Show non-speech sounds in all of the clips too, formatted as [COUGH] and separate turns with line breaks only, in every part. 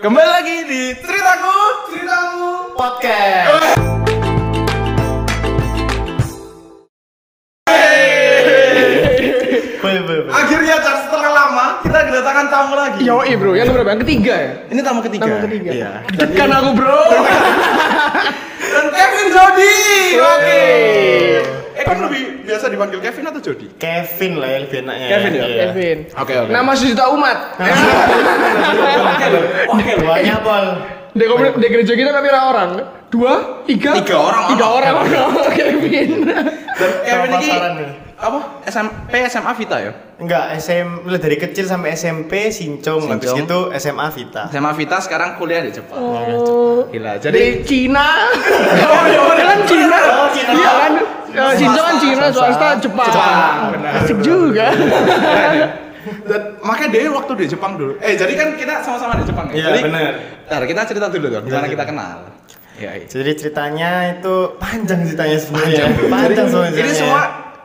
Kembali lagi di ceritaku, ceritamu podcast.
Boleh, boleh, boleh.
Akhirnya cara setelah lama kita kedatangan tamu lagi.
Yoi bro, yang berapa? Yang ketiga ya?
Iya. Ini tamu ketiga.
Tamu ketiga.
Iya.
Ditekan aku bro.
Dan Kevin Jody. Oke.
Yeay.
Eh kan lebih biasa dipanggil Kevin atau Jody?
Kevin lah ya lebih enaknya.
Kevin ya?
Iya.
Kevin.
Oke, oke.
Nama sejuta
[LAUGHS]
umat.
Oke loh. Oke loh.
Duanya
Eh,
Pol.
Di komuni- di gereja kita tapi orang orang. Dua, tiga,
Tiga orang.
tiga orang. [LAUGHS] Kevin.
Dan Kevin ini
pasaran nih.
apa? SMP SMA Vita ya?
Enggak, SM mulai dari kecil sampai SMP Sincong, habis
Sincong.
itu SMA Vita.
SMA Vita sekarang kuliah di Jepang. Gila. Jadi
Jadi
[LAUGHS]
Cina. Oh, iya, kan Cina.
Oh, Cina.
Iya kan. Eh, Shinzo kan Cina, swasta Jepang.
Jepang, benar.
Asik
[LAUGHS]
juga.
Dan makanya dia waktu di Jepang dulu. Eh jadi kan kita sama-sama di Jepang
Iya,
Jadi,
benar.
Ntar kita cerita dulu dong gimana
Iya,
kita kenal. Iya. iya.
Jadi ceritanya itu panjang ceritanya sebenarnya. Panjang, soalnya.
Ini semua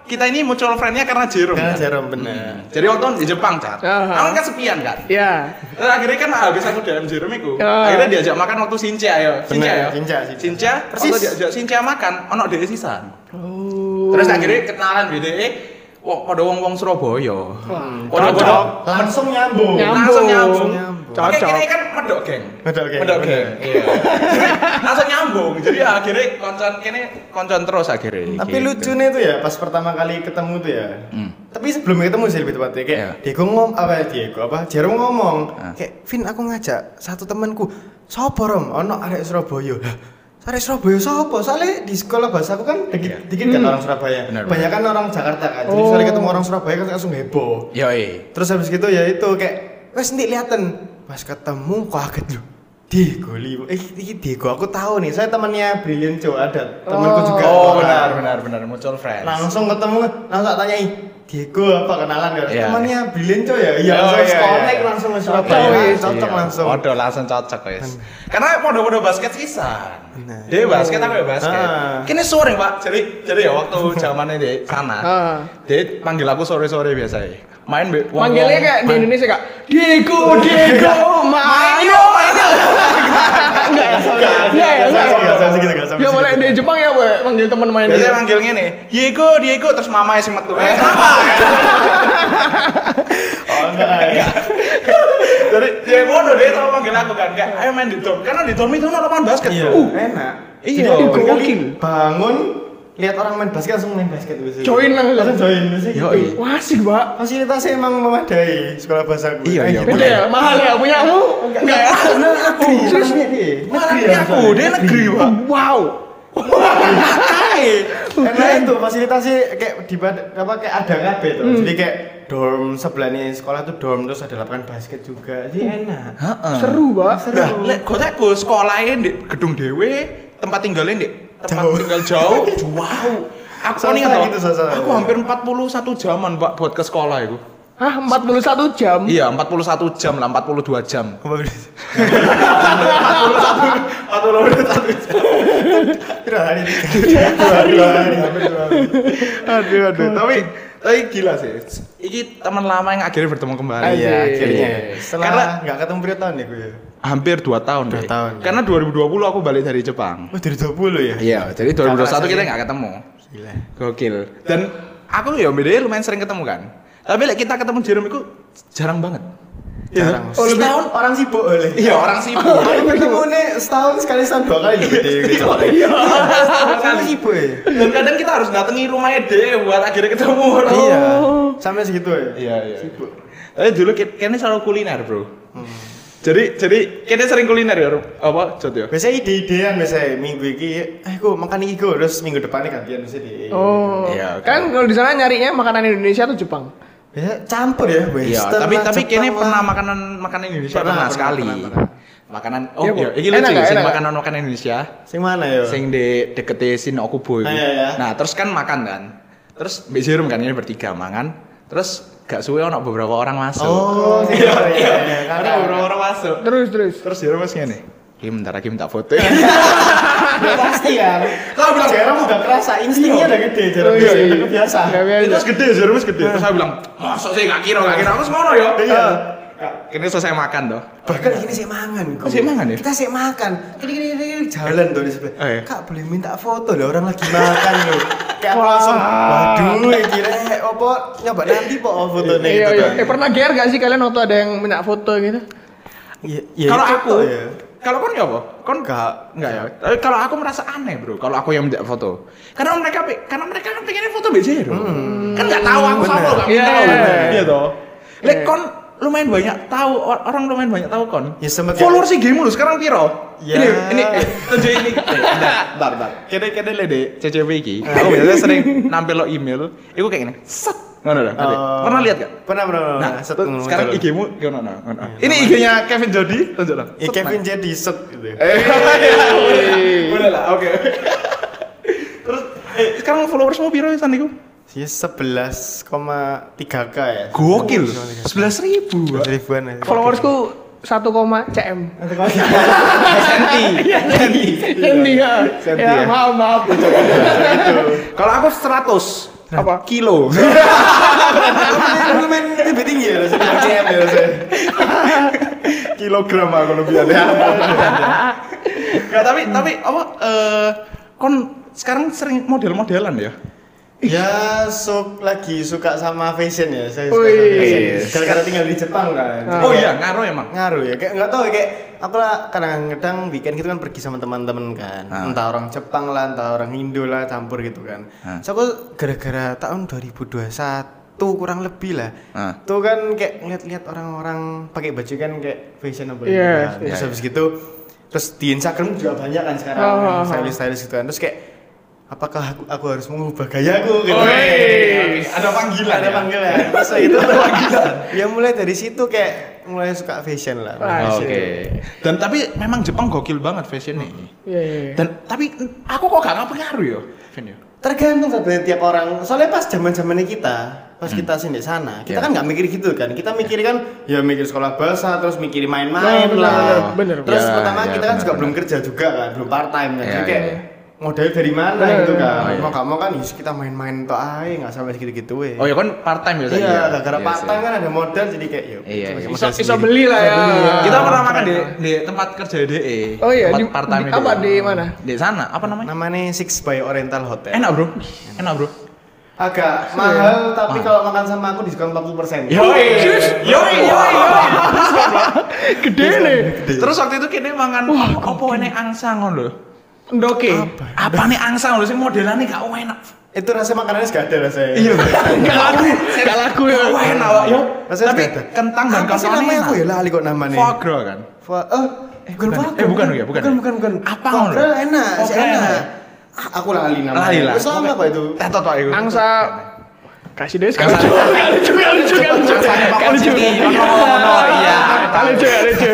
kita ini mutual friendnya Iya, karena Jerome.
karena
kan?
jarum benar.
Jadi waktu di Jepang, Cat.
Aha.
Aku kan kesepian kan.
Ya.
Terus akhirnya kan habis aku dalam Jerome iku.
Ah.
Akhirnya diajak makan waktu Sinca ayo. Sinca
Bener,
ya.
Sinca, Sinca.
Sinca.
Persis.
Waktu diajak Sinca makan ono dhek sisan.
Oh.
Terus akhirnya kenalan BDE Wah, pada wong-wong Surabaya.
Cocok,
Pada-pada
langsung nyambung.
Nyambung.
langsung nyambung.
Nyambung.
Oke,
Cocok.
kini kan medok geng.
Medok geng.
Medok geng. Iya. Jadi, langsung nyambung. Jadi akhirnya koncon kini koncon terus akhirnya.
Tapi
Gitu.
lucunya itu ya pas pertama kali ketemu tuh ya.
Hmm.
Tapi sebelum ketemu sih lebih tepatnya kayak
Iya.
Diego ngom apa ya, Diego apa Jerome ngomong
Ah.
kayak Vin aku ngajak satu temanku sopo rom ono arek Surabaya. Hah, Arek Surabaya sopo? Soalnya di sekolah bahasa aku kan dikit dikit kan
Hmm.
orang Surabaya.
Iya. Benar, benar.
Banyak kan orang Jakarta kan. Jadi
Oh.
sekali ketemu orang Surabaya kan langsung heboh.
Yoi.
Terus habis gitu ya itu kayak wes nih liaten pas ketemu kaget lu Diego lima eh ini Diego aku tahu nih saya temannya Brilliant Joe ada temanku juga Nah,
Oh,
orang.
benar benar benar muncul friends.
langsung ketemu langsung tak tanyai Diego apa kenalan ya
Iya.
temannya Brilin coy ya iya
Oh,
langsung
iya,
connect
iya.
langsung ke
Oh,
Surabaya
iya,
cocok
iya.
langsung
Podo langsung cocok guys. Karena podo-podo basket sisan.
Benar.
Dia basket aku ya basket.
Iya. Ah.
Kini sore pak. Jadi jadi ya
[LAUGHS]
waktu zamannya di sana.
Ah.
Dia panggil aku sore-sore biasa ya. Main be- wong-
Manggilnya
wong-
kayak di
main-
Indonesia kak Diego, Diego,
[LAUGHS] Main
main
yo, main yo. Iya,
Enggak ya, sorry. Enggak ya,
Enggak,
enggak.
enggak, enggak, enggak, enggak.
Ya boleh di Jepang ya, boleh manggil teman main
Biasanya
gitu.
manggil ngene, Diego, Diego terus mama sing metu. Eh,
Ah.
kenapa?
oh enggak enggak.
Iya. [LAUGHS] Jadi [LAUGHS] dia bodoh dia tau manggil aku kan kayak ayo main di dorm. Karena di dorm itu ada lapangan basket.
iya
Uh,
enak
Iya,
Jadi aku
gokil.
kali bangun lihat orang main basket langsung main basket biasanya.
Join langsung.
langsung join biasanya gitu.
Yoi.
Wah asik pak
Iya, fasilitasnya emang memadai sekolah bahasa gue
Iya,
Eh,
iya,
gitu.
Beda ya, mahal ya, punya kamu Enggak ya
Karena aku
Terus-
negeri
malah ini aku,
iya,
dia negeri, Pak.
Wow
Hai.
Karena itu fasilitasnya kayak di bad- apa kayak ada kabeh tuh. Jadi kayak dorm sebelahnya sekolah tuh dorm terus ada lapangan basket juga. Jadi enak.
Heeh.
Seru pak
Seru.
Nah, lek gotekku sekolahnya di gedung dewe, tempat tinggalnya di tempat
Jauh.
tinggal jauh, [LAUGHS] jauh. Aku kan
Sosok
ingat
gitu,
toh,
sosok.
aku hampir 41 jaman Pak buat ke sekolah itu.
Hah, 41 jam?
Iya, 41 jam lah, 42 jam.
Apa bener?
41
Dua hari. Dua dua hari. hampir dua hari.
Aduh, aduh. Tapi tapi gila sih. Iki teman lama yang akhirnya bertemu kembali.
Asik.
Iya, akhirnya. Setelah
Karena-
nggak ketemu berapa tahun ya gue ya?
Hampir 2 tahun, iya.
Dua
Dek.
tahun, ya.
Karena 2020 aku balik dari Jepang.
Oh, dari 20 ya?
Iya, jadi 2021 kita nggak ketemu.
Gila.
Gokil. Dan aku ya bedanya lumayan sering ketemu kan. Tapi like, kita ketemu Jerome itu jarang banget.
Jarang.
Oh, lebih-
Setahun orang sibuk oleh.
Iya, orang sibuk.
Baru ketemu nih setahun sekali setahun dua kali gitu ya. gitu.
Oh, iya.
[LAUGHS] Setahun sekali sibuk ya.
Dan kadang kita harus datangi rumahnya dia buat akhirnya ketemu.
Iya. Sampai segitu ya.
Iya, iya. Sibuk. Eh dulu ki- kayaknya selalu kuliner, Bro. Jadi jadi kayaknya sering kuliner ya, Ru? apa? Jod ya.
Biasanya ide-idean biasanya minggu ini, eh gue makan ini gue, terus minggu depannya gantian biasanya di
Oh,
Iya, oke.
kan kalau di sana nyarinya makanan Indonesia atau Jepang?
Biasanya campur ya,
Iya,
Western
tapi
lah,
tapi
Jepang
kayaknya
lah.
pernah makanan makanan Indonesia
Pernah,
pernah,
pernah,
sekali.
pernah, pernah.
Makanan oh
Iya, Bu.
iya, ini lucu
Enak nggak,
sih
enak nggak?
makanan makanan Indonesia.
Sing mana ya?
sing di dekete Shinokuboi.
Ah, iya, iya.
Nah, terus kan makan kan. Terus Mbak Jerum kan ini bertiga mangan. Terus gak suwe ono beberapa orang masuk.
Oh, sing iya, iya, iya.
Ada beberapa orang masuk.
Terus, terus
Terus Jerum mas ngene. Kim bentar lagi minta foto.
[LAUGHS] Udah pasti ya.
Lah, bilang-
Jerem udah kerasa instingnya udah gede, Jerem
Oh, iya,
biasa.
iya.
Aku biasa.
Gak biasa.
Terus gede Jerum mas gede. Terus saya bilang, "Masuk sih gak kira, gak kira aku semono ya."
Iya.
Kene selesai makan toh.
bahkan ini saya mangan
Oh, saya mangan ya?
kita saya makan ini ini, ini, ini jalan tuh di sebelah
Oh, iya.
kak boleh minta foto lah orang lagi makan loh kayak aku langsung
Wah.
waduh ya kira eh, apa nyoba nanti po foto nih gitu.
Iya, iya. Eh pernah GR gak sih kalian waktu ada yang minta foto gitu?
Iya,
Ya
kalau aku, kalau kon ya apa? Kon
Nggak.
enggak ya. Tapi kalau aku merasa aneh, Bro, kalau aku yang minta foto. Karena mereka pe- karena mereka kan pengennya foto BC, Bro. Kan enggak tahu aku
Hmm. Bener.
sama enggak
Iya,
minta.
iya,
Bro.
iya.
Iya toh. Lek
Iya.
kon lumayan banyak tahu or- orang lumayan banyak tahu kon.
Ya, sempet ya.
Followers IG mu lu sekarang piro?
Ya.
Ini ini eh, tunjuk ini. [LAUGHS] Eh, bentar, Bentar, bentar. Kene-kene le de CCW iki. Aku biasanya sering nampil lo email, iku kayak gini. Set. Ngono lho. ngerti? Pernah lihat gak?
Eh, pernah pernah pernah,
Nah,
pernah. Set,
terus
ngono,
sekarang
ngono.
IG-mu gimana? nah, ngono. Ini IG-nya Kevin Jody, tunjuk dong.
ya
[LAUGHS] Set,
Kevin
nah.
jadi set gitu
Eh, boleh lah, boleh lah, oke. Terus eh, sekarang followersmu piro pisan niku?
ya 11,3k ya
Gokil. 11.000. Pak.
ribuan ya
Followersku 1, cm.
Senti. Senti.
Ini ya.
Senti
Ya,
ya.
maaf, maaf.
Nah,
Kalau aku 100
Eh.
apa
[LAUGHS]
kilo.
Lu main lebih tinggi ya rasanya CM ya rasanya
[LAUGHS] kilogram aku lebih ada. Enggak, tapi tapi apa eh kon sekarang sering model-modelan ya?
Ya, sok lagi suka sama fashion ya. Saya suka
Wih.
sama fashion. Gara-gara tinggal di Jepang kan. Jadi
Ah.
Oh
kayak
iya, ngaruh emang.
Ngaruh ya. Kayak nggak tahu ya, kayak aku lah kadang-kadang weekend gitu kan pergi sama teman-teman kan.
Ah.
Entah orang Jepang lah, entah orang Indo lah, campur gitu kan.
Ah.
So, aku gara-gara tahun 2021 kurang lebih lah.
Ah.
Tuh kan kayak ngeliat-liat orang-orang pakai baju kan kayak fashionable gitu
Yes,
kan.
yes.
iya.
Terus habis gitu terus di Instagram juga banyak kan sekarang
Oh, oh, oh.
stylist-stylist gitu kan. Terus kayak apakah aku, aku harus mengubah gayaku gitu.
Woi, ada panggilan
ada
ya?
panggilan. Masa itu ada panggilan. [LAUGHS] Ya mulai dari situ kayak mulai suka fashion lah.
Ah,
Oke. Dan tapi memang Jepang gokil banget fashionnya.
Iya, iya. iya.
Dan tapi aku kok gak ngapengaruh ya, Vin ya?
Tergantung sebenarnya tiap orang. Soalnya pas zaman-zamannya kita, pas kita sini sana,
Iya.
kita kan nggak mikir gitu kan. Kita mikir kan ya mikir sekolah bahasa, terus mikir main-main
Nah, benar,
lah.
benar, benar.
Terus
Ya,
pertama
ya,
kita kan
benar,
juga
benar.
belum kerja juga kan, belum part time kan.
Iya,
Jadi
iya,
kayak
iya.
modal dari mana
Benar,
gitu kan.
benar.
Mau kamu kan yus, kita main-main tok ae, nggak sampai segitu-gitu we.
Oh ya kan part time ya
Iya, gara-gara part time kan ada modal jadi kayak yuk.
Iya, iya.
Bisa, bisa beli lah ya.
Kita pernah makan di, di tempat kerja DE.
Oh iya,
tempat
di- di- apa, di mana?
Di sana, apa namanya?
Namanya Six by Oriental Hotel.
Enak, Bro. Enak, Bro.
Agak Iya. mahal, iya. tapi kalau makan sama aku diskon 40%.
Yoi, yoi, yoi.
Gede nih.
Terus waktu itu kini mangan
Iya. Wah,
apa apa ini angsa ngono lho.
Ndoke.
Apa nih angsa ngono sing modelane gak enak.
Itu rasa makanannya gak ada rasanya.
Gak laku, gak laku ya.
Gak enak, Wak. Yo.
Rasanya
Tapi
sudah ada.
kentang dan
Apa sih
kentangnya
namanya
enak.
aku ya lali kok namanya.
Foie gras kan.
Foie. Oh, eh, bukan
bukan.
foie.
Eh, bukan,
gras.
ya, bukan.
Bukan, bukan, bukan.
Apa
Foie
ngono?
gras enak,
Foie
sih
gras
enak.
enak.
Ah, aku lali namanya.
Lali lah.
Terus lama apa itu?
Tetot Pak iku.
Angsa kasih deh
Angsa.
sekarang. Gak lucu, gak lucu, gak lucu.
Angsa di
Gak
bakul
lucu.
sini, ono-ono, iya.
Gak lucu, gak lucu.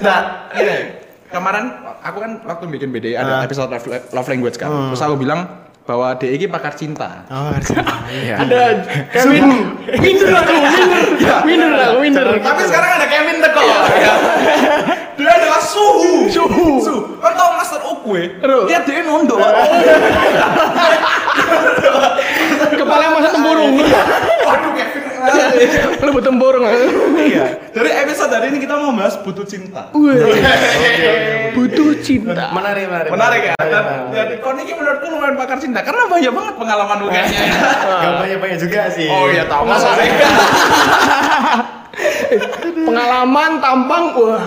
Nah, ini kemarin aku kan waktu bikin BDI ada
Ah.
episode love, love language kan. Terus aku bilang bahwa DE ini pakar cinta.
Oh, [LAUGHS] harusnya.
Ada Kevin. Minder aku, minder. Minder aku, minder.
Tapi sekarang ada Kevin teko. Dia adalah suhu.
Suhu.
Suhu. Kau tahu master ukwe?
Aduh.
Dia dia nunduk.
Kepala masa tempurung.
Waduh Kevin. ngelatih.
Lu buat tempurung.
Iya. Dari episode hari ini kita mau bahas butuh cinta.
Wih. Butuh cinta.
Menarik, menarik.
Menarik ya. Dan, dan kau ini menurutku lumayan pakar cinta karena banyak banget pengalaman lu kayaknya.
Gak banyak-banyak juga sih.
Oh iya tahu. Masa sih?
Pengalaman tampang wah.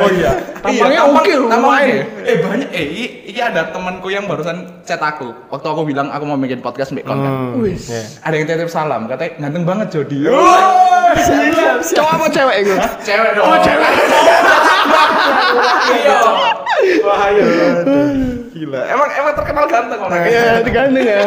Oh iya.
Tampangnya oke loh,
tampangnya.
lumayan.
Eh banyak. Eh i- ini ada temanku yang barusan chat aku. Waktu aku bilang aku mau bikin podcast Mbak Kon, kan.
Hmm.
Wih.
Iya.
Ada yang titip salam, katanya ganteng banget Jody.
Cowok apa cewek itu?
Cewek dong. Oh, cewek. Iya. Bahaya.
iya.
Gila. Emang emang terkenal ganteng orangnya.
Ya,
Iya,
digandeng ya.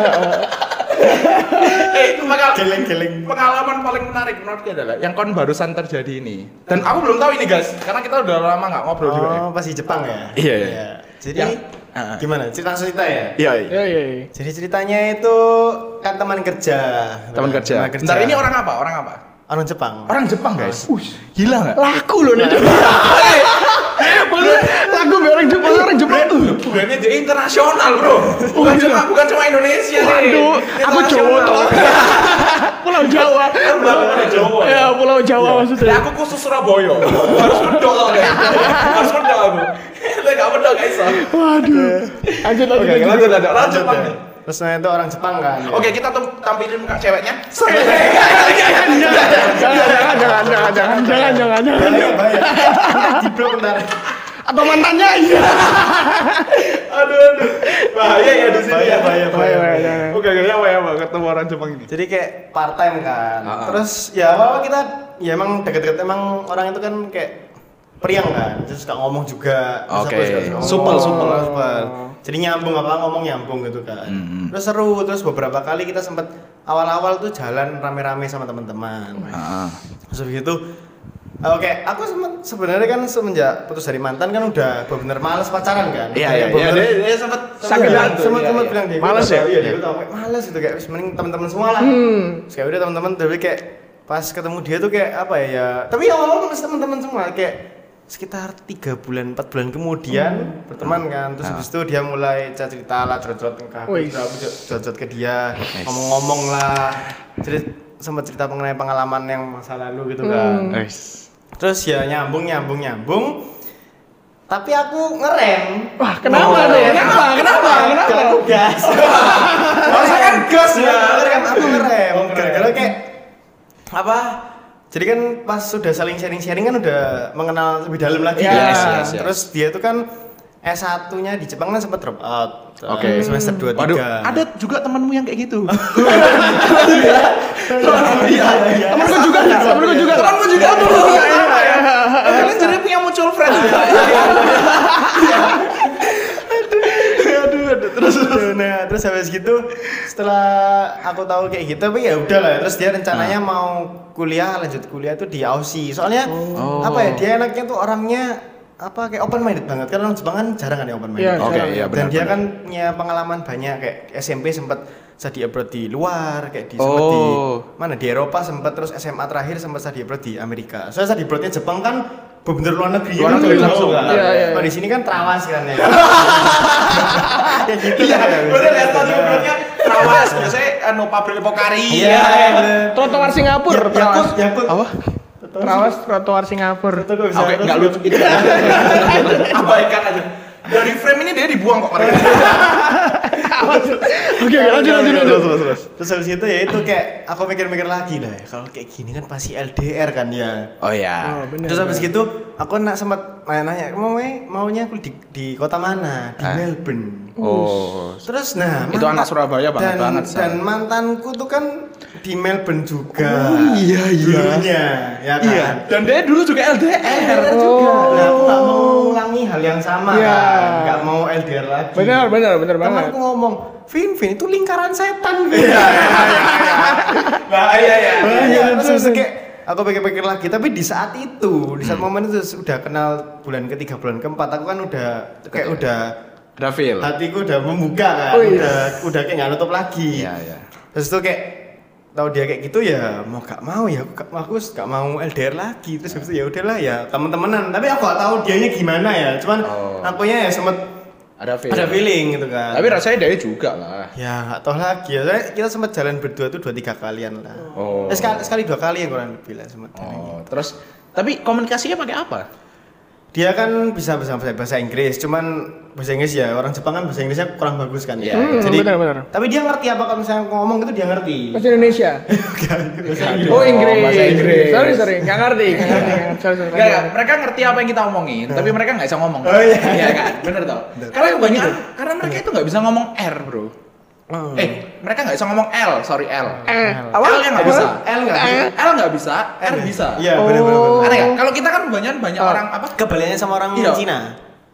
Eh, itu bakal
Geleng-geleng.
pengalaman paling menarik menurutku adalah yang kon barusan terjadi ini. Dan aku belum tahu ini guys, karena kita udah lama nggak ngobrol juga. ya.
Oh, pasti Jepang ya?
Iya, iya.
Jadi,
Yang- Ah.
gimana? Cerita cerita ya?
Iya.
Ya, ya, ya.
Jadi ceritanya itu kan teman kerja.
Teman kerja. Bentar ini orang apa? Orang apa?
orang Jepang.
Orang Jepang guys. gila nggak?
Laku loh nih. Maksudnya laku biar orang Jepang, orang Jepang tuh.
Brandnya jadi internasional bro. Bukan cuma bukan cuma Indonesia. nih.
Waduh, aku Jawa
Internasional.
toh. Pulau Jawa.
Kan baru ada Jawa.
Ya, Pulau Jawa
Lah aku khusus Surabaya. Harus mendok tau gak? Harus mendok aku. Lah gak mendok gak iso.
Waduh. Lanjut lanjut.
Oke,
lanjut.
lanjut lanjut.
Lanjut, Pak.
ya. Terus nah itu orang Jepang kan. ya?
Oke, kita tem- tampilin muka ceweknya.
Jangan jangan jangan jangan jangan jangan jangan.
Bahaya,
[LAUGHS]
bahaya. Diblok bentar.
Atau mantannya iya.
[LAUGHS] Aduh, aduh. Bahaya ya di sini.
Bahaya,
ya.
bahaya, bahaya. bahaya.
Oke, kayaknya bahaya banget ketemu orang Jepang ini.
Jadi kayak part time kan.
Ah, ah.
Terus ya awal kita ya emang deket-deket emang orang itu kan kayak periang kan. Terus suka ngomong juga. Terus
Oke.
aku juga suka ngomong.
Supel, supel.
Supel. Jadi nyambung apa ngomong nyambung gitu kan.
Mm-mm.
Terus seru, terus beberapa kali kita sempet awal-awal tuh jalan rame-rame sama teman-teman.
Heeh.
Terus habis itu eh, Oke, aku sempet sebenarnya kan semenjak putus dari mantan kan udah bener-bener males pacaran kan.
Iya, iya,
Kayak
iya.
bener-bener-
Dia, dia sempat
Sambil bilang, sempat
iya,
sempat
iya.
bilang dia
Males ya? Hmm.
Iya, dia tahu kayak males gitu kayak "Wis, mending teman-teman semua lah. Terus kayak udah teman-teman tapi kayak pas ketemu dia tuh kayak apa ya? ya- Tapi ya ngomong sama teman-teman semua kayak sekitar 3 bulan 4 bulan kemudian berteman kan terus habis itu dia mulai cerita cerita lah curhat-curhat ke aku
Wih.
terus aku juga curhat-curhat ke dia ngomong-ngomong lah jadi sempat cerita mengenai pengalaman yang masa lalu gitu kan
Hmm. Wis.
terus ya nyambung nyambung nyambung tapi aku ngerem
Wah, kenapa
Oh,
tuh?
ngerem.
Kenapa? Kenapa? Kenapa?
Karena aku
[LAUGHS]
gas
Masa kan gas
Iya,
ya?
bener kan aku ngerem
Oh, ngerem.
gara-gara kayak apa jadi kan pas sudah saling sharing-sharing kan udah mengenal lebih dalam lagi
Iya,
kan.
yes, yes, yes.
terus dia itu kan S1-nya di Jepang kan sempat drop out
Oke.
semester 2 3
Waduh, ada ya? juga temanmu yang kayak gitu.
iya iya
Temenku juga enggak? Temenku juga. Temenku juga.
Kalian jadi punya mutual friend.
aduh aduh terus terus nah terus habis gitu setelah aku tahu kayak gitu tapi ya udah lah terus dia rencananya
Nah.
mau kuliah lanjut kuliah tuh di Aussie soalnya
Oh.
apa ya dia enaknya tuh orangnya apa kayak open minded banget kan orang Jepang kan jarang kan yang open minded
Iya, Oke, jarang.
iya,
dan
benar,
dia
benar.
kan punya pengalaman banyak kayak SMP sempat study abroad di luar kayak di sempat di
Oh.
mana di Eropa sempat terus SMA terakhir sempat study abroad di Amerika soalnya study abroadnya Jepang kan bener luar negeri
Luar
kan
negeri
jauh
langsung,
kan.
iya, iya.
Kalau di sini kan terawas kan ya
[LAUGHS]
ya gitu
Iya,
lah.
udah lihat tadi sebenarnya terawas biasanya anu pabrik pokari.
Iya, bener.
Trotoar Singapura. Terawas.
Yakut.
Apa?
Terawas trotoar Singapura.
Itu kok bisa.
Oke, enggak lucu itu. [LAUGHS] Abaikan aja. Dari frame ini dia dibuang kok mereka.
Oke, oke, lanjut lanjut lanjut.
terus. Terus habis itu ya itu kayak aku mikir-mikir lagi lah. ya, Kalau kayak gini kan pasti LDR kan ya.
Oh iya.
Terus habis gitu aku nak sempat nanya-nanya, mau Mei, maunya aku di, di kota mana? Di
Ah.
Melbourne.
Oh.
Terus nah,
Itu anak Surabaya banget
dan,
banget, Sal.
Dan mantanku tuh kan di Melbourne juga.
Oh, iya, iya.
Dulunya, ya kan.
Iya, dan dia dulu juga LDR.
LDR juga. Nah, aku gak mau
Oh.
mengulangi hal yang sama
Iya.
kan. Gak mau LDR lagi.
Benar, benar, benar banget.
Temanku ngomong, Vin, Vin itu lingkaran setan. Vin."
Bahaya ya.
Iya,
Iya,
terus
betul.
habis itu kayak aku pikir-pikir lagi, tapi di saat itu, di saat momen itu sudah kenal bulan ketiga, bulan keempat, aku kan udah kayak udah
Dafil.
hatiku udah membuka kan,
Oh, iya.
udah udah kayak nggak nutup lagi.
Iya, iya.
Terus itu kayak tahu dia kayak gitu ya mau gak mau ya aku gak, aku gak mau LDR lagi terus habis itu ya udahlah ya temen-temenan tapi aku gak tahu dianya gimana ya cuman
Oh.
akunya ya sempet
Ada feeling.
ada feeling gitu kan
Tapi rasanya dia juga lah.
ya gak tahu lagi ya Soalnya kita sempet jalan berdua tuh dua tiga kalian lah
Oh.
Eh, sekali, sekali dua kali yang kurang lebih lah sempet jalan.
Oh, terus tapi komunikasinya pakai apa?
dia kan bisa bahasa bahasa- bahasa Inggris cuman bahasa Inggris ya orang Jepang kan bahasa Inggrisnya kurang bagus kan
Iya.
ya
Hmm,
jadi
benar, benar.
tapi dia ngerti apa kalau misalnya aku ngomong itu dia ngerti
Bahasa Indonesia.
Bahasa
Iya.
Inggris.
Oh, Inggris.
bahasa Inggris.
Sorry, sorry. Enggak ngerti. Enggak ngerti. Sorry, sorry. Eh,
Enggak, enggak. mereka ngerti apa yang kita omongin, tapi mereka nggak bisa ngomong.
Oh, iya.
kan? Bener Iya. tau. Karena banyak, karena mereka itu nggak bisa ngomong R bro.
Hmm.
Eh, mereka nggak bisa ngomong L, sorry L.
Eh,
L yang nggak bisa.
L nggak bisa.
L nggak bisa, R bisa.
Iya,
Oh.
benar benar. benar.
Aneh nggak? Kalau kita kan banyak banyak
Oh.
orang apa?
Kebalikannya sama orang
Iya.
Cina.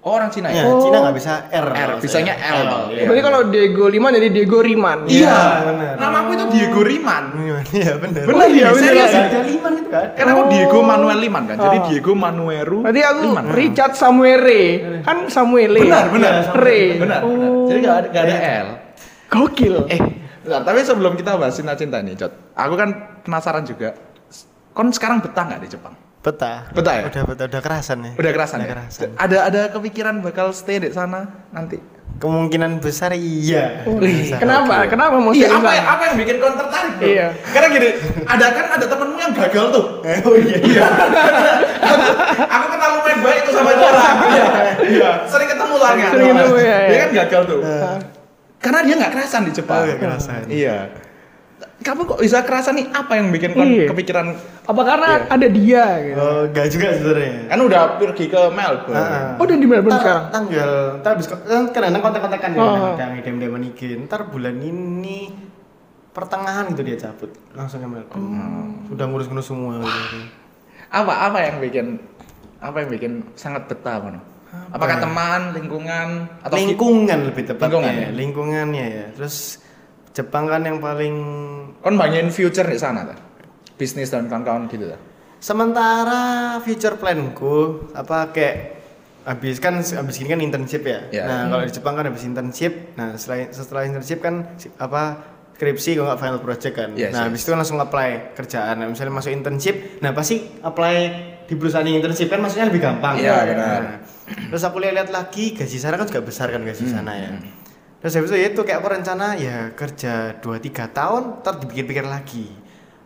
Oh, orang Cina
Iya,
ya.
Cina nggak bisa R.
R,
kalau
bisanya
saya.
L, Bang.
iya.
Eh, Berarti kalau Diego Liman jadi Diego Riman.
Iya.
bener.
Nama aku itu Diego Riman.
Iya, benar.
Bener ya, bener.
Serius, ada lima itu kan.
Karena aku Diego Manuel Liman kan. Jadi
Oh.
Diego Manueru.
Berarti aku
Liman.
Richard Samuele. Kan Samuele.
Benar, benar.
Re.
Benar, benar.
Oh.
Jadi nggak ada, nggak ada L.
Gokil.
Eh, bentar, tapi sebelum kita bahas cinta cinta nih, Jod. Aku kan penasaran juga. Kon sekarang betah nggak di Jepang?
Peta.
Betah ya?
Udah, betah, udah kerasan ya.
Udah kerasan
Udah
ya?
kerasan.
Ada ada kepikiran bakal stay di sana nanti?
Kemungkinan besar iya. Besar.
Oh. Kenapa? Kenapa mau
Iya, apa yang,
sering banget?
apa yang bikin kau tertarik? Bro?
Iya.
Karena gini, ada kan ada temenmu yang gagal tuh.
Eh, Oh iya.
[LAUGHS] Aku kenal lumayan baik tuh sama itu orang. Iya. Iya. Sering ketemu lah kan.
Sering ketemu, iya, iya.
Dia kan gagal tuh. Karena dia nggak kerasan di Jepang.
Oh, nggak kerasan.
Iya. Kamu kok bisa kerasan nih? Apa yang bikin kon
Iya.
kepikiran?
Apa karena ada dia gitu?
Oh, enggak juga sebenarnya.
Kan udah pergi ke Melbourne.
Heeh.
Oh, udah di Melbourne
Ntar-
sekarang.
Tanggal, ntar habis kan kadang kontak-kontakan ya,
Oh.
kadang idem-idem iki. Ntar bulan ini pertengahan gitu dia cabut langsung ke Melbourne.
Hmm.
Udah ngurus-ngurus semua gitu.
Apa apa yang bikin apa yang bikin sangat betah Kono? Apakah
ya?
teman, lingkungan atau
lingkungan lebih tepatnya
Lingkungan, ya?
lingkungannya ya terus Jepang kan yang paling
kon banyain future di sana ta? Bisnis dan kawan-kawan gitu ta?
sementara future planku apa kayak habis kan habis ini kan internship ya
Ya.
nah kalau di Jepang kan habis internship nah setelah setelah internship kan si- apa skripsi kalau nggak final project kan
Yes,
nah
yes.
habis itu kan langsung apply kerjaan nah, misalnya masuk internship nah pasti apply di perusahaan yang internship kan maksudnya lebih gampang
Iya,
Nah,
benar.
terus aku lihat-lihat lagi gaji sana kan juga besar kan gaji
Hmm.
sana ya terus habis itu ya itu kayak aku rencana ya kerja 2-3 tahun ntar dipikir-pikir lagi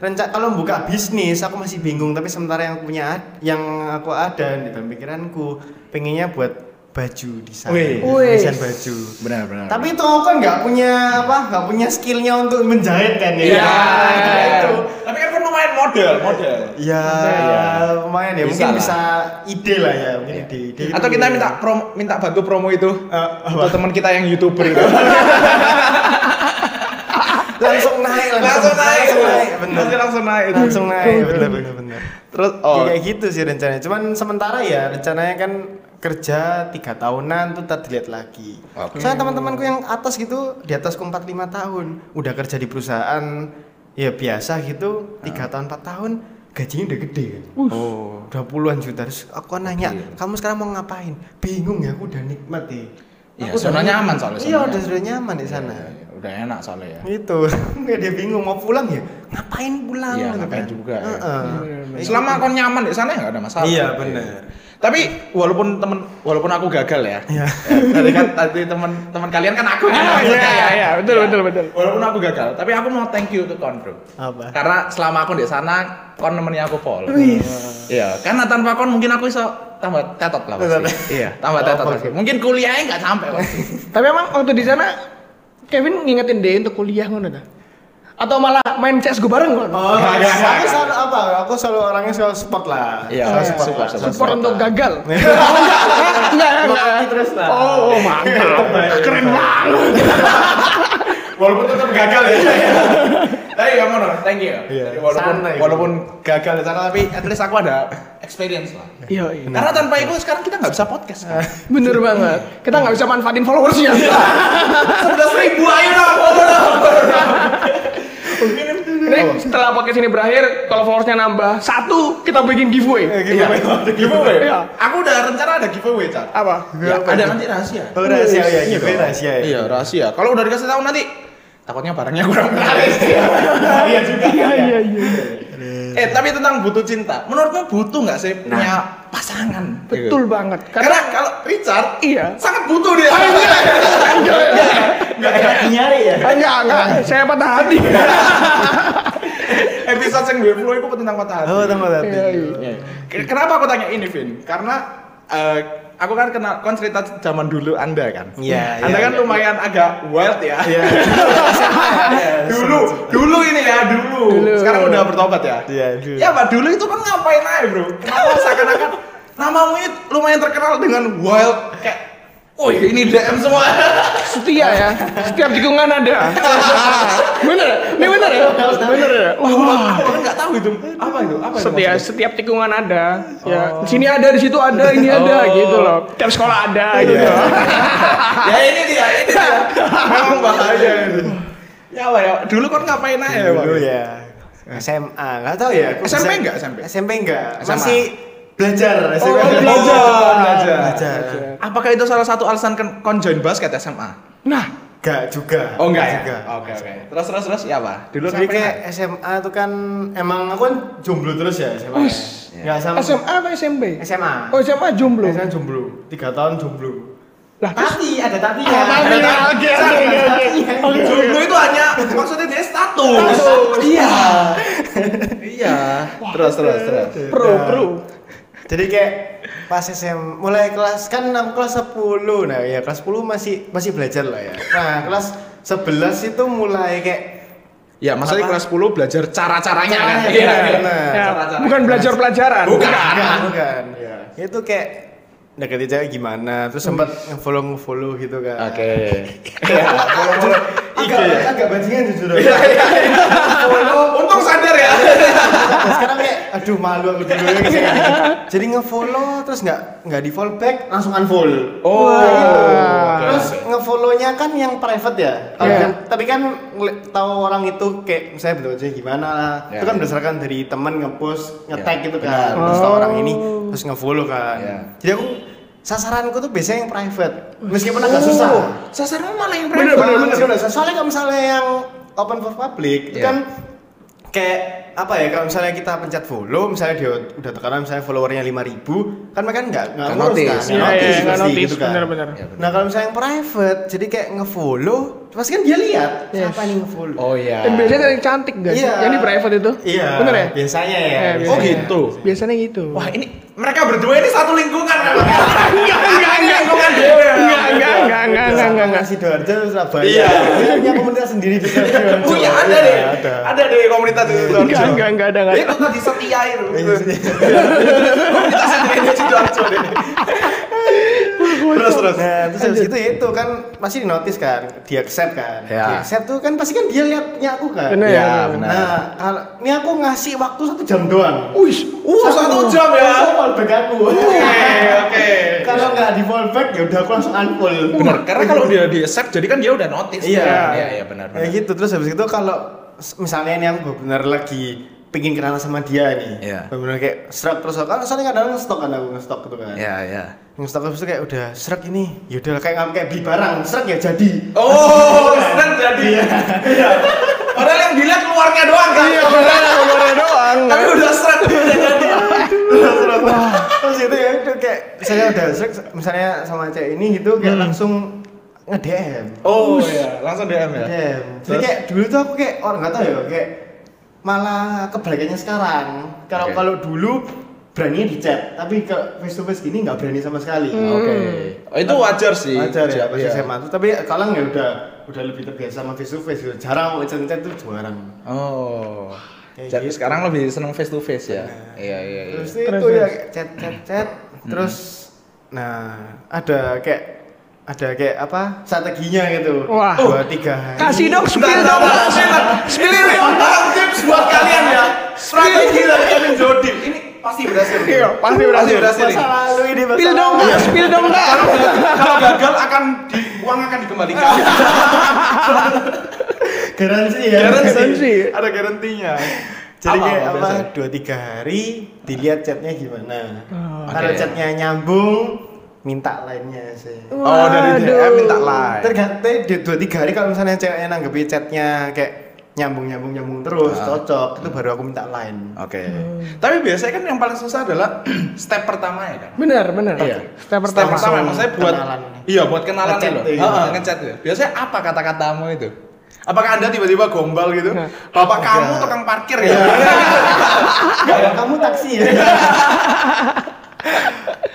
rencana kalau buka bisnis aku masih bingung tapi sementara yang punya ad- yang aku ada di dalam pikiranku pengennya buat baju desain
Wih.
Wih.
desain baju
Benar benar.
tapi itu aku kan nggak punya apa nggak punya skillnya untuk menjahit kan ya
Iya.
Nah, itu
Tapi kan kon lumayan model, model.
ya lumayan ya
Iya. Bisa lah.
mungkin
Iya.
bisa ide lah ya mungkin ide, ide gitu.
Atau kita minta prom- minta bantu promo itu
Eh, apa?
atau teman kita yang youtuber itu.
langsung naik
langsung naik,
langsung naik bener
Pasti langsung naik. itu.
langsung naik bener bener bener
Terus
Ya,
oh,
kayak gitu sih rencananya cuman sementara ya rencananya kan kerja tiga tahunan tuh ntar dilihat lagi
Oke.
soalnya teman-temanku yang atas gitu di atasku empat lima tahun udah kerja di perusahaan ya biasa gitu tiga tahun empat tahun gajinya udah gede kan
oh.
udah puluhan juta terus aku nanya kamu sekarang mau ngapain bingung ya aku udah nikmat ya
Iya,
Aku udah
zona
nikmat.
nyaman soalnya,
iya
zona
udah
nyaman.
sudah nyaman di sana
Udah enak soalnya ya.
gitu [LAUGHS] nggak dia bingung mau pulang ya ngapain pulang
Iya,
gitu
ngapain juga ya.
Heeh.
Selama kon nyaman di sana ya nggak ada masalah.
iya bener
Tapi walaupun temen walaupun aku gagal ya. Ya,
Iya.
Tadi kan tadi teman-teman kalian kan aku yang
Ah,
maksudnya
iya,
ya.
iya, betul,
Iya.
betul, betul.
Walaupun aku gagal, tapi aku mau thank you ke kon, Bro.
apa
Karena selama aku di sana kon nemenin aku pol.
Wih.
Iya, karena tanpa kon mungkin aku iso tambah tetot lah pasti.
Tetot.
iya, tambah tetot
Apa
pasti.
sih?
Mungkin kuliahnya nggak sampai pasti.
Tapi emang waktu di sana Kevin ngingetin dia untuk kuliah ngono ta? Atau malah main CS gue bareng ngono?
Oh,
Nggak, nggak, nggak,
aku
nggak.
selalu apa? Aku selalu orangnya selalu support lah.
Iya,
Selalu
iya, support,
lah,
support,
Support
selalu
untuk
lah.
[LAUGHS] gagal. Oh, enggak, enggak, enggak.
Maki terus lah.
Oh, oh, mantap. Keren banget.
[LAUGHS] walaupun tetap gagal ya. [LAUGHS] tapi ya mono, thank you. Jadi
Iya,
Walaupun
santai.
walaupun gagal di sana tapi at least aku ada experience lah.
Iya, iya.
Karena tanpa itu sekarang kita nggak bisa podcast. Kan? [LAUGHS]
Bener banget. Kita nggak bisa manfaatin followersnya.
Sebelas ribu ayo dong, ayo dong.
Ini setelah podcast ini berakhir, kalau followersnya nambah satu, kita bikin giveaway.
Eh, gitu,
Iya.
gitu.
Giveaway.
Iya.
Aku udah rencana ada giveaway, Cat.
Apa?
Ya, ada nanti rahasia.
Oh, rahasia ya, gitu
dong.
rahasia ya.
Iya, rahasia. Kalau udah dikasih tahu nanti takutnya barangnya kurang menarik. [LAUGHS]
Iya juga.
Iya, iya, iya.
eh, tapi tentang butuh cinta. Menurutmu butuh nggak sih punya
Nah.
pasangan?
Betul banget. Karena
Karena kalau Richard
Iya.
sangat butuh dia.
Oh, iya. Enggak enak
Iya,
nyari ya.
enggak, enggak. Saya patah hati.
[LAUGHS] Episode yang 20 itu tentang patah hati.
Oh, tambah hati.
Iya, iya.
Iya. Ke- Kenapa aku tanya ini, Vin? Karena eh, aku kan kenal kon cerita zaman dulu Anda kan.
Iya,
Anda
iya,
kan
iya.
lumayan agak wild ya. [LAUGHS]
Iya.
dulu, dulu ini ya, dulu.
Dulu.
Sekarang udah bertobat ya.
Iya, dulu.
Ya, Pak, dulu itu kan ngapain aja, Bro? Kenapa [LAUGHS] seakan-akan namamu itu lumayan terkenal dengan wild kayak Wih, ini DM semua.
Setia ya. Setiap tikungan
[LAUGHS]
ada. Bener. Ini bener ya? Bener ya?
Wah, wah, aku kan nggak tahu itu. Apa itu? Apa itu
Setiap
maksudnya? Oh.
setiap tikungan ada. Ya, di sini ada, di situ ada, ini ada gitu loh. Tiap sekolah ada
Iya.
gitu.
ya ini dia, ini dia. [LAUGHS] Memang bahaya ini. Ya, Pak, ya. Dulu kan ngapain aja, Pak?
Dulu ya. SMA enggak tahu ya. aku
SMP
bisa-
nggak, SMP?
SMP enggak.
SMA.
Masih belajar
Oh,
SMP.
belajar. Belajar.
Belajar.
Iya. Apakah itu salah satu alasan kon kon join basket SMA?
Nah,
Oh, Enggak juga. juga.
Oh, ya? Oke, oke. Terus terus terus ya, Pak. Dulu
Jadi
ngapain
kayak
aja?
SMA tuh kan emang aku kan jomblo terus ya SMA.
Wis.
Enggak sama.
SMA apa SMP?
SMA.
Oh, SMA jomblo.
Biasanya jomblo, tiga tahun jomblo.
Lah, terus
[LAUGHS]
tapi ada Iya, tapi
Ah, tapi,
ya
oke, oke, oke, oke.
Jomblo itu hanya maksudnya dia Iya. status.
iya
iya. Terus terus terus.
pro pro.
jadi kayak pas SM mulai kelas kan aku kelas 10 nah ya kelas 10 masih masih belajar lah ya nah kelas 11 itu mulai kayak
Ya, maksudnya
Apa?
kelas 10 belajar cara-caranya kan.
Caranya,
Iya.
benar.
iya.
Ya,
Cara-cara.
bukan belajar pelajaran.
Bukan.
bukan Iya. bukan itu kayak deketi cewek gimana terus sempat ngefollow ngefollow gitu kan
Oke.
agak agak bajingan jujur aja.
[LAUGHS] Untung sadar ya.
Nah, sekarang kayak aduh malu aku [LAUGHS] dulu ya. jadi ngefollow terus nggak nggak di follow back langsung unfollow
Oh.
gitu. Wah.
terus
Iya.
ngefollownya kan yang private ya Tahu
Iya.
kan- tapi kan ngeli- tahu orang itu kayak misalnya betul aja gimana lah
Iya.
itu kan berdasarkan dari teman ngepost ngetag
Iya.
gitu
Benar.
kan terus tahu orang ini
Oh.
terus ngefollow kan
Iya.
jadi aku sasaranku tuh biasanya yang private meskipun agak
Oh.
susah
Sasaran malah yang
Bener,
private.
bener, bener.
Bener, bener. Soalnya kalau misalnya yang open for public itu
Iya.
kan kayak apa ya kalau misalnya kita pencet follow misalnya dia udah tekanan misalnya followernya 5000 kan mereka nggak nggak
Nggak
ngurus
notice. Iya,
kan
iya,
nggak notice
nggak
pasti
notice,
gitu kan
bener-bener.
Iya, bener.
nah kalau misalnya yang private jadi kayak ngefollow pasti kan dia lihat
Yes.
siapa nih ngefollow
Oh iya.
Dan biasanya yang cantik guys,
Iya.
yang di private itu.
iya
Bener ya?
biasanya ya
Iya,
Oh
biasanya.
gitu.
Biasanya gitu.
Wah, ini mereka berdua ini satu lingkungan namanya. iya,
enggak, enggak, enggak,
Lingkungan dewe.
enggak, enggak, enggak, enggak, enggak, enggak, enggak.
si Doarjo Surabaya
Iya.
Dia punya komunitas sendiri di Sidoarjo
[LAUGHS] Oh iya ada deh.
ada
Ada Iya, deh komunitas itu.
Enggak, enggak, enggak ada, enggak.
Itu tadi setia itu.
Iya,
iya. [LAUGHS]
terus terus nah terus habis itu ya itu kan pasti di notice kan di accept kan
Ya.
di accept tuh kan pasti kan dia lihat punya aku kan
Bener.
Iya,
nah,
benar.
kalau ini aku ngasih waktu satu jam doang
Wih,
Uh, satu jam ya.
Aku fallback aku
Oke, oke.
[LAUGHS] kalau nggak di fallback ya udah aku langsung unfollow
Benar, karena kalau dia di accept jadi kan dia udah notice.
Iya.
kan? Iya, iya benar.
ya
benar.
gitu terus habis itu kalau s- misalnya ini aku benar lagi pingin kenalan sama dia nih
Iya.
benar kayak serak terus kan soalnya kadang ngestok kan aku ngestok gitu kan
Iya, iya.
ngestok terus tuh kayak udah serak ini yaudah kayak nggak kayak beli barang serak ya jadi
[LAUGHS] Oh, senang jadi. Iya. Padahal yang dilihat keluarnya doang kan. Iya,
keluarnya doang.
Tapi udah serak udah jadi.
terus itu ya itu kayak misalnya udah serak misalnya sama cewek ini gitu
Hmm.
kayak langsung nge DM
Oh, iya, langsung DM ya.
DM
Iya.
jadi
Terus?
kayak dulu tuh aku kayak orang nggak tahu ya kayak malah kebalikannya sekarang kalau
Oke.
kalau dulu berani di chat tapi ke face to face gini nggak berani sama sekali
Hmm.
Oke. Oh, itu wajar sih.
wajar ya pas
Iya.
SMA tuh tapi kalau ya udah udah lebih terbiasa sama face to face gitu. jarang mau chat chat tuh jarang
Oh.
Kayak
Jadi
gitu.
sekarang lebih seneng face to face ya. Iya, iya, iya.
terus
Terus,
itu ya
terus.
chat chat chat
Hmm.
terus nah ada kayak ada kayak apa strateginya gitu
Wah.
dua tiga hari
Kasih dong spill
Enggak,
dong.
enggak, enggak.
Spill
Ini
dong.
memang tips buat kalian ya. Strategi dari kalian Jody. Ini pasti berhasil.
Iya, pasti berhasil.
masa
nih.
lalu ini masa
Spill dong,
lalu. Iya,
Kak. Spill dong, Kak.
Kalau kalau gagal akan di, uang akan dikembalikan.
garansi ya
Garansi.
Ada garantinya.
jadi
Apa-apa
kayak apa
biasanya?
dua tiga hari dilihat chatnya gimana
Oh.
kalau
Oke.
chatnya nyambung minta lainnya sih
Oh, dari DM minta like.
tergantung di dua tiga hari kalau misalnya ceweknya nanggepi chatnya kayak nyambung nyambung nyambung terus
Ah.
cocok itu baru aku minta line
Oke. Tapi biasanya kan yang paling susah adalah [CLEARS THROAT] step pertama ya kan.
Bener, bener. Step pertama.
Step pertama maksudnya buat
Kenalan.
Iya, buat kenalan
Ngechat
loh.
tuh, iya.
Heeh, ngechat ya. Biasanya apa kata-katamu itu? Apakah Anda tiba-tiba gombal gitu?
Nah.
Bapak
Enggak.
kamu tukang parkir ya? [LAUGHS]
Kalau kamu taksi ya.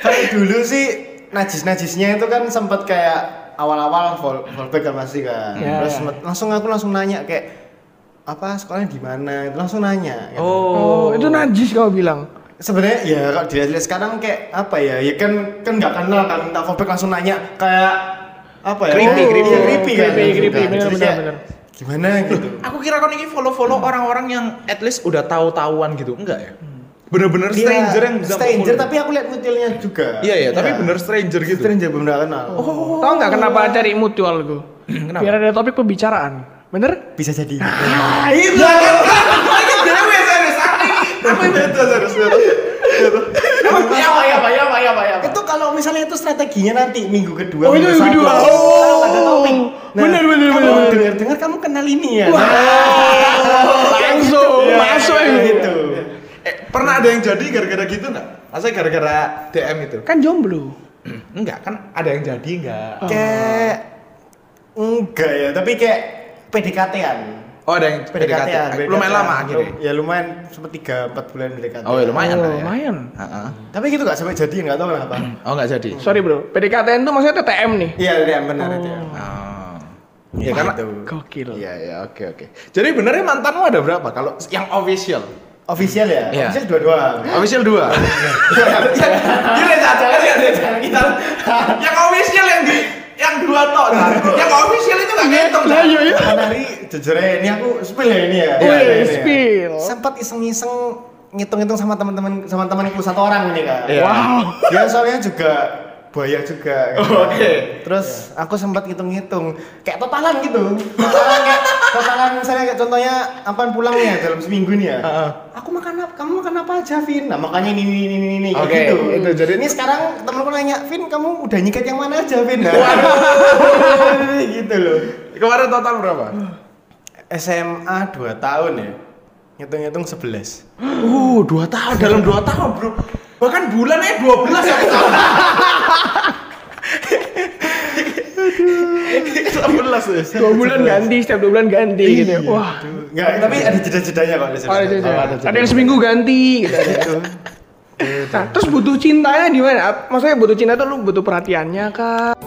Kalau dulu sih najis-najisnya itu kan sempat kayak awal-awal vol- fallback kan pasti kan.
Ya.
Terus sempet- langsung aku langsung nanya kayak apa sekolahnya di mana? Itu Langsung nanya. gitu.
Oh, itu najis kau bilang.
Sebenarnya ya kalau dilihat-lihat sekarang kayak apa ya? Ya kan kan nggak kenal kan minta fallback langsung nanya kayak apa ya?
Creepy,
Iya,
creepy.
creepy, kan.
Creepy, creepy,
Jadi
benar,
kayak,
benar, benar.
Gimana gitu.
Aku kira kau ini follow-follow orang-orang yang at least udah tahu-tahuan gitu, enggak ya? Bener-bener stranger
Iya,
yang bisa
stranger
follow.
tapi aku lihat mutilnya juga.
Iya iya, tapi bener stranger gitu. [LAUGHS]
stranger belum kenal.
Tahu nggak kenapa cari mutual gue?
Oh. Kenapa?
Biar ada topik pembicaraan. Bener?
bisa jadi
Ah, itu kan kan lagi dewe serius aku ini. Aku ini betul serius. Ya apa ya apa ya apa ya apa ya.
itu kalau misalnya itu strateginya nanti minggu kedua
Oh, itu
minggu
minggu
satu.
kedua. Oh.
Kalau ada topik Nah,
Benar, benar,
kamu
benar, benar.
dengar dengar kamu kenal ini ya
Wah,
Kayak gitu.
langsung
Iya,
masuk
kayak
ini.
gitu
Eh, pernah ada yang jadi gara-gara gitu enggak? Maksudnya gara-gara DM itu.
Kan jomblo.
Enggak, kan ada yang jadi enggak.
kayak enggak ya tapi kayak PDKT-an
Oh, ada yang PDKT.
PDKT-an
eh, Lumayan lama akhirnya.
ya lumayan sempat 3 4 bulan PDKT
Oh, ya lumayan lah ya.
lumayan.
Heeh.
tapi gitu gak sampai jadi nggak tahu kenapa
Oh, enggak jadi.
Sorry bro, PDKTN tuh maksudnya TTM nih.
iya iya benar itu ya
Oh. Ya karena
Gitu.
Gokil.
Iya, ya, oke, oke. Jadi benernya mantanmu ada berapa? Kalau yang official?
official ya
Iya.
official dua-dua Iya.
Official dua.
[LAUGHS]
Gila caca kita. Yang official yang di yang dua tok. Cak. Yang official itu nggak ngitung. Cak.
Lah iya iya.
Kan hari jujur ya ini aku spill ya ini ya.
Wih,
Iya, ini ya.
spill.
Sempat iseng-iseng ngitung-ngitung sama teman-teman sama temanku satu orang ini kan.
Iya.
Wow.
Dia soalnya juga buaya juga. kan.
Oh, oke.
Terus aku sempat ngitung-ngitung kayak totalan gitu. Totalan kayak totalan misalnya kayak contohnya apaan pulangnya dalam seminggu nih ya.
Heeh.
Aku makan apa? Kamu makan apa aja, Vin? Nah, makanya ini ini ini ini, ini kayak
Oke,
gitu.
itu jadi-
ini sekarang temanku nanya, "Vin, kamu udah nyikat yang mana aja, Vin?" Nah, [LAUGHS] gitu loh.
Kemarin total berapa?
SMA 2 tahun ya ngitung-ngitung 11
Uh, dua tahun dalam dua tahun bro. Bahkan bulannya dua belas satu [LAUGHS] tahun. Sebelas ya.
Dua bulan ganti, setiap dua bulan ganti
Iya.
gitu. Wah.
Enggak, tapi ada jeda-jedanya kok ada
Oh, ada,
jeda-jedanya.
ada, ada yang seminggu ganti gitu. ya, Nah, terus butuh cintanya di mana? Ap- Maksudnya butuh cinta tuh lu butuh perhatiannya kah?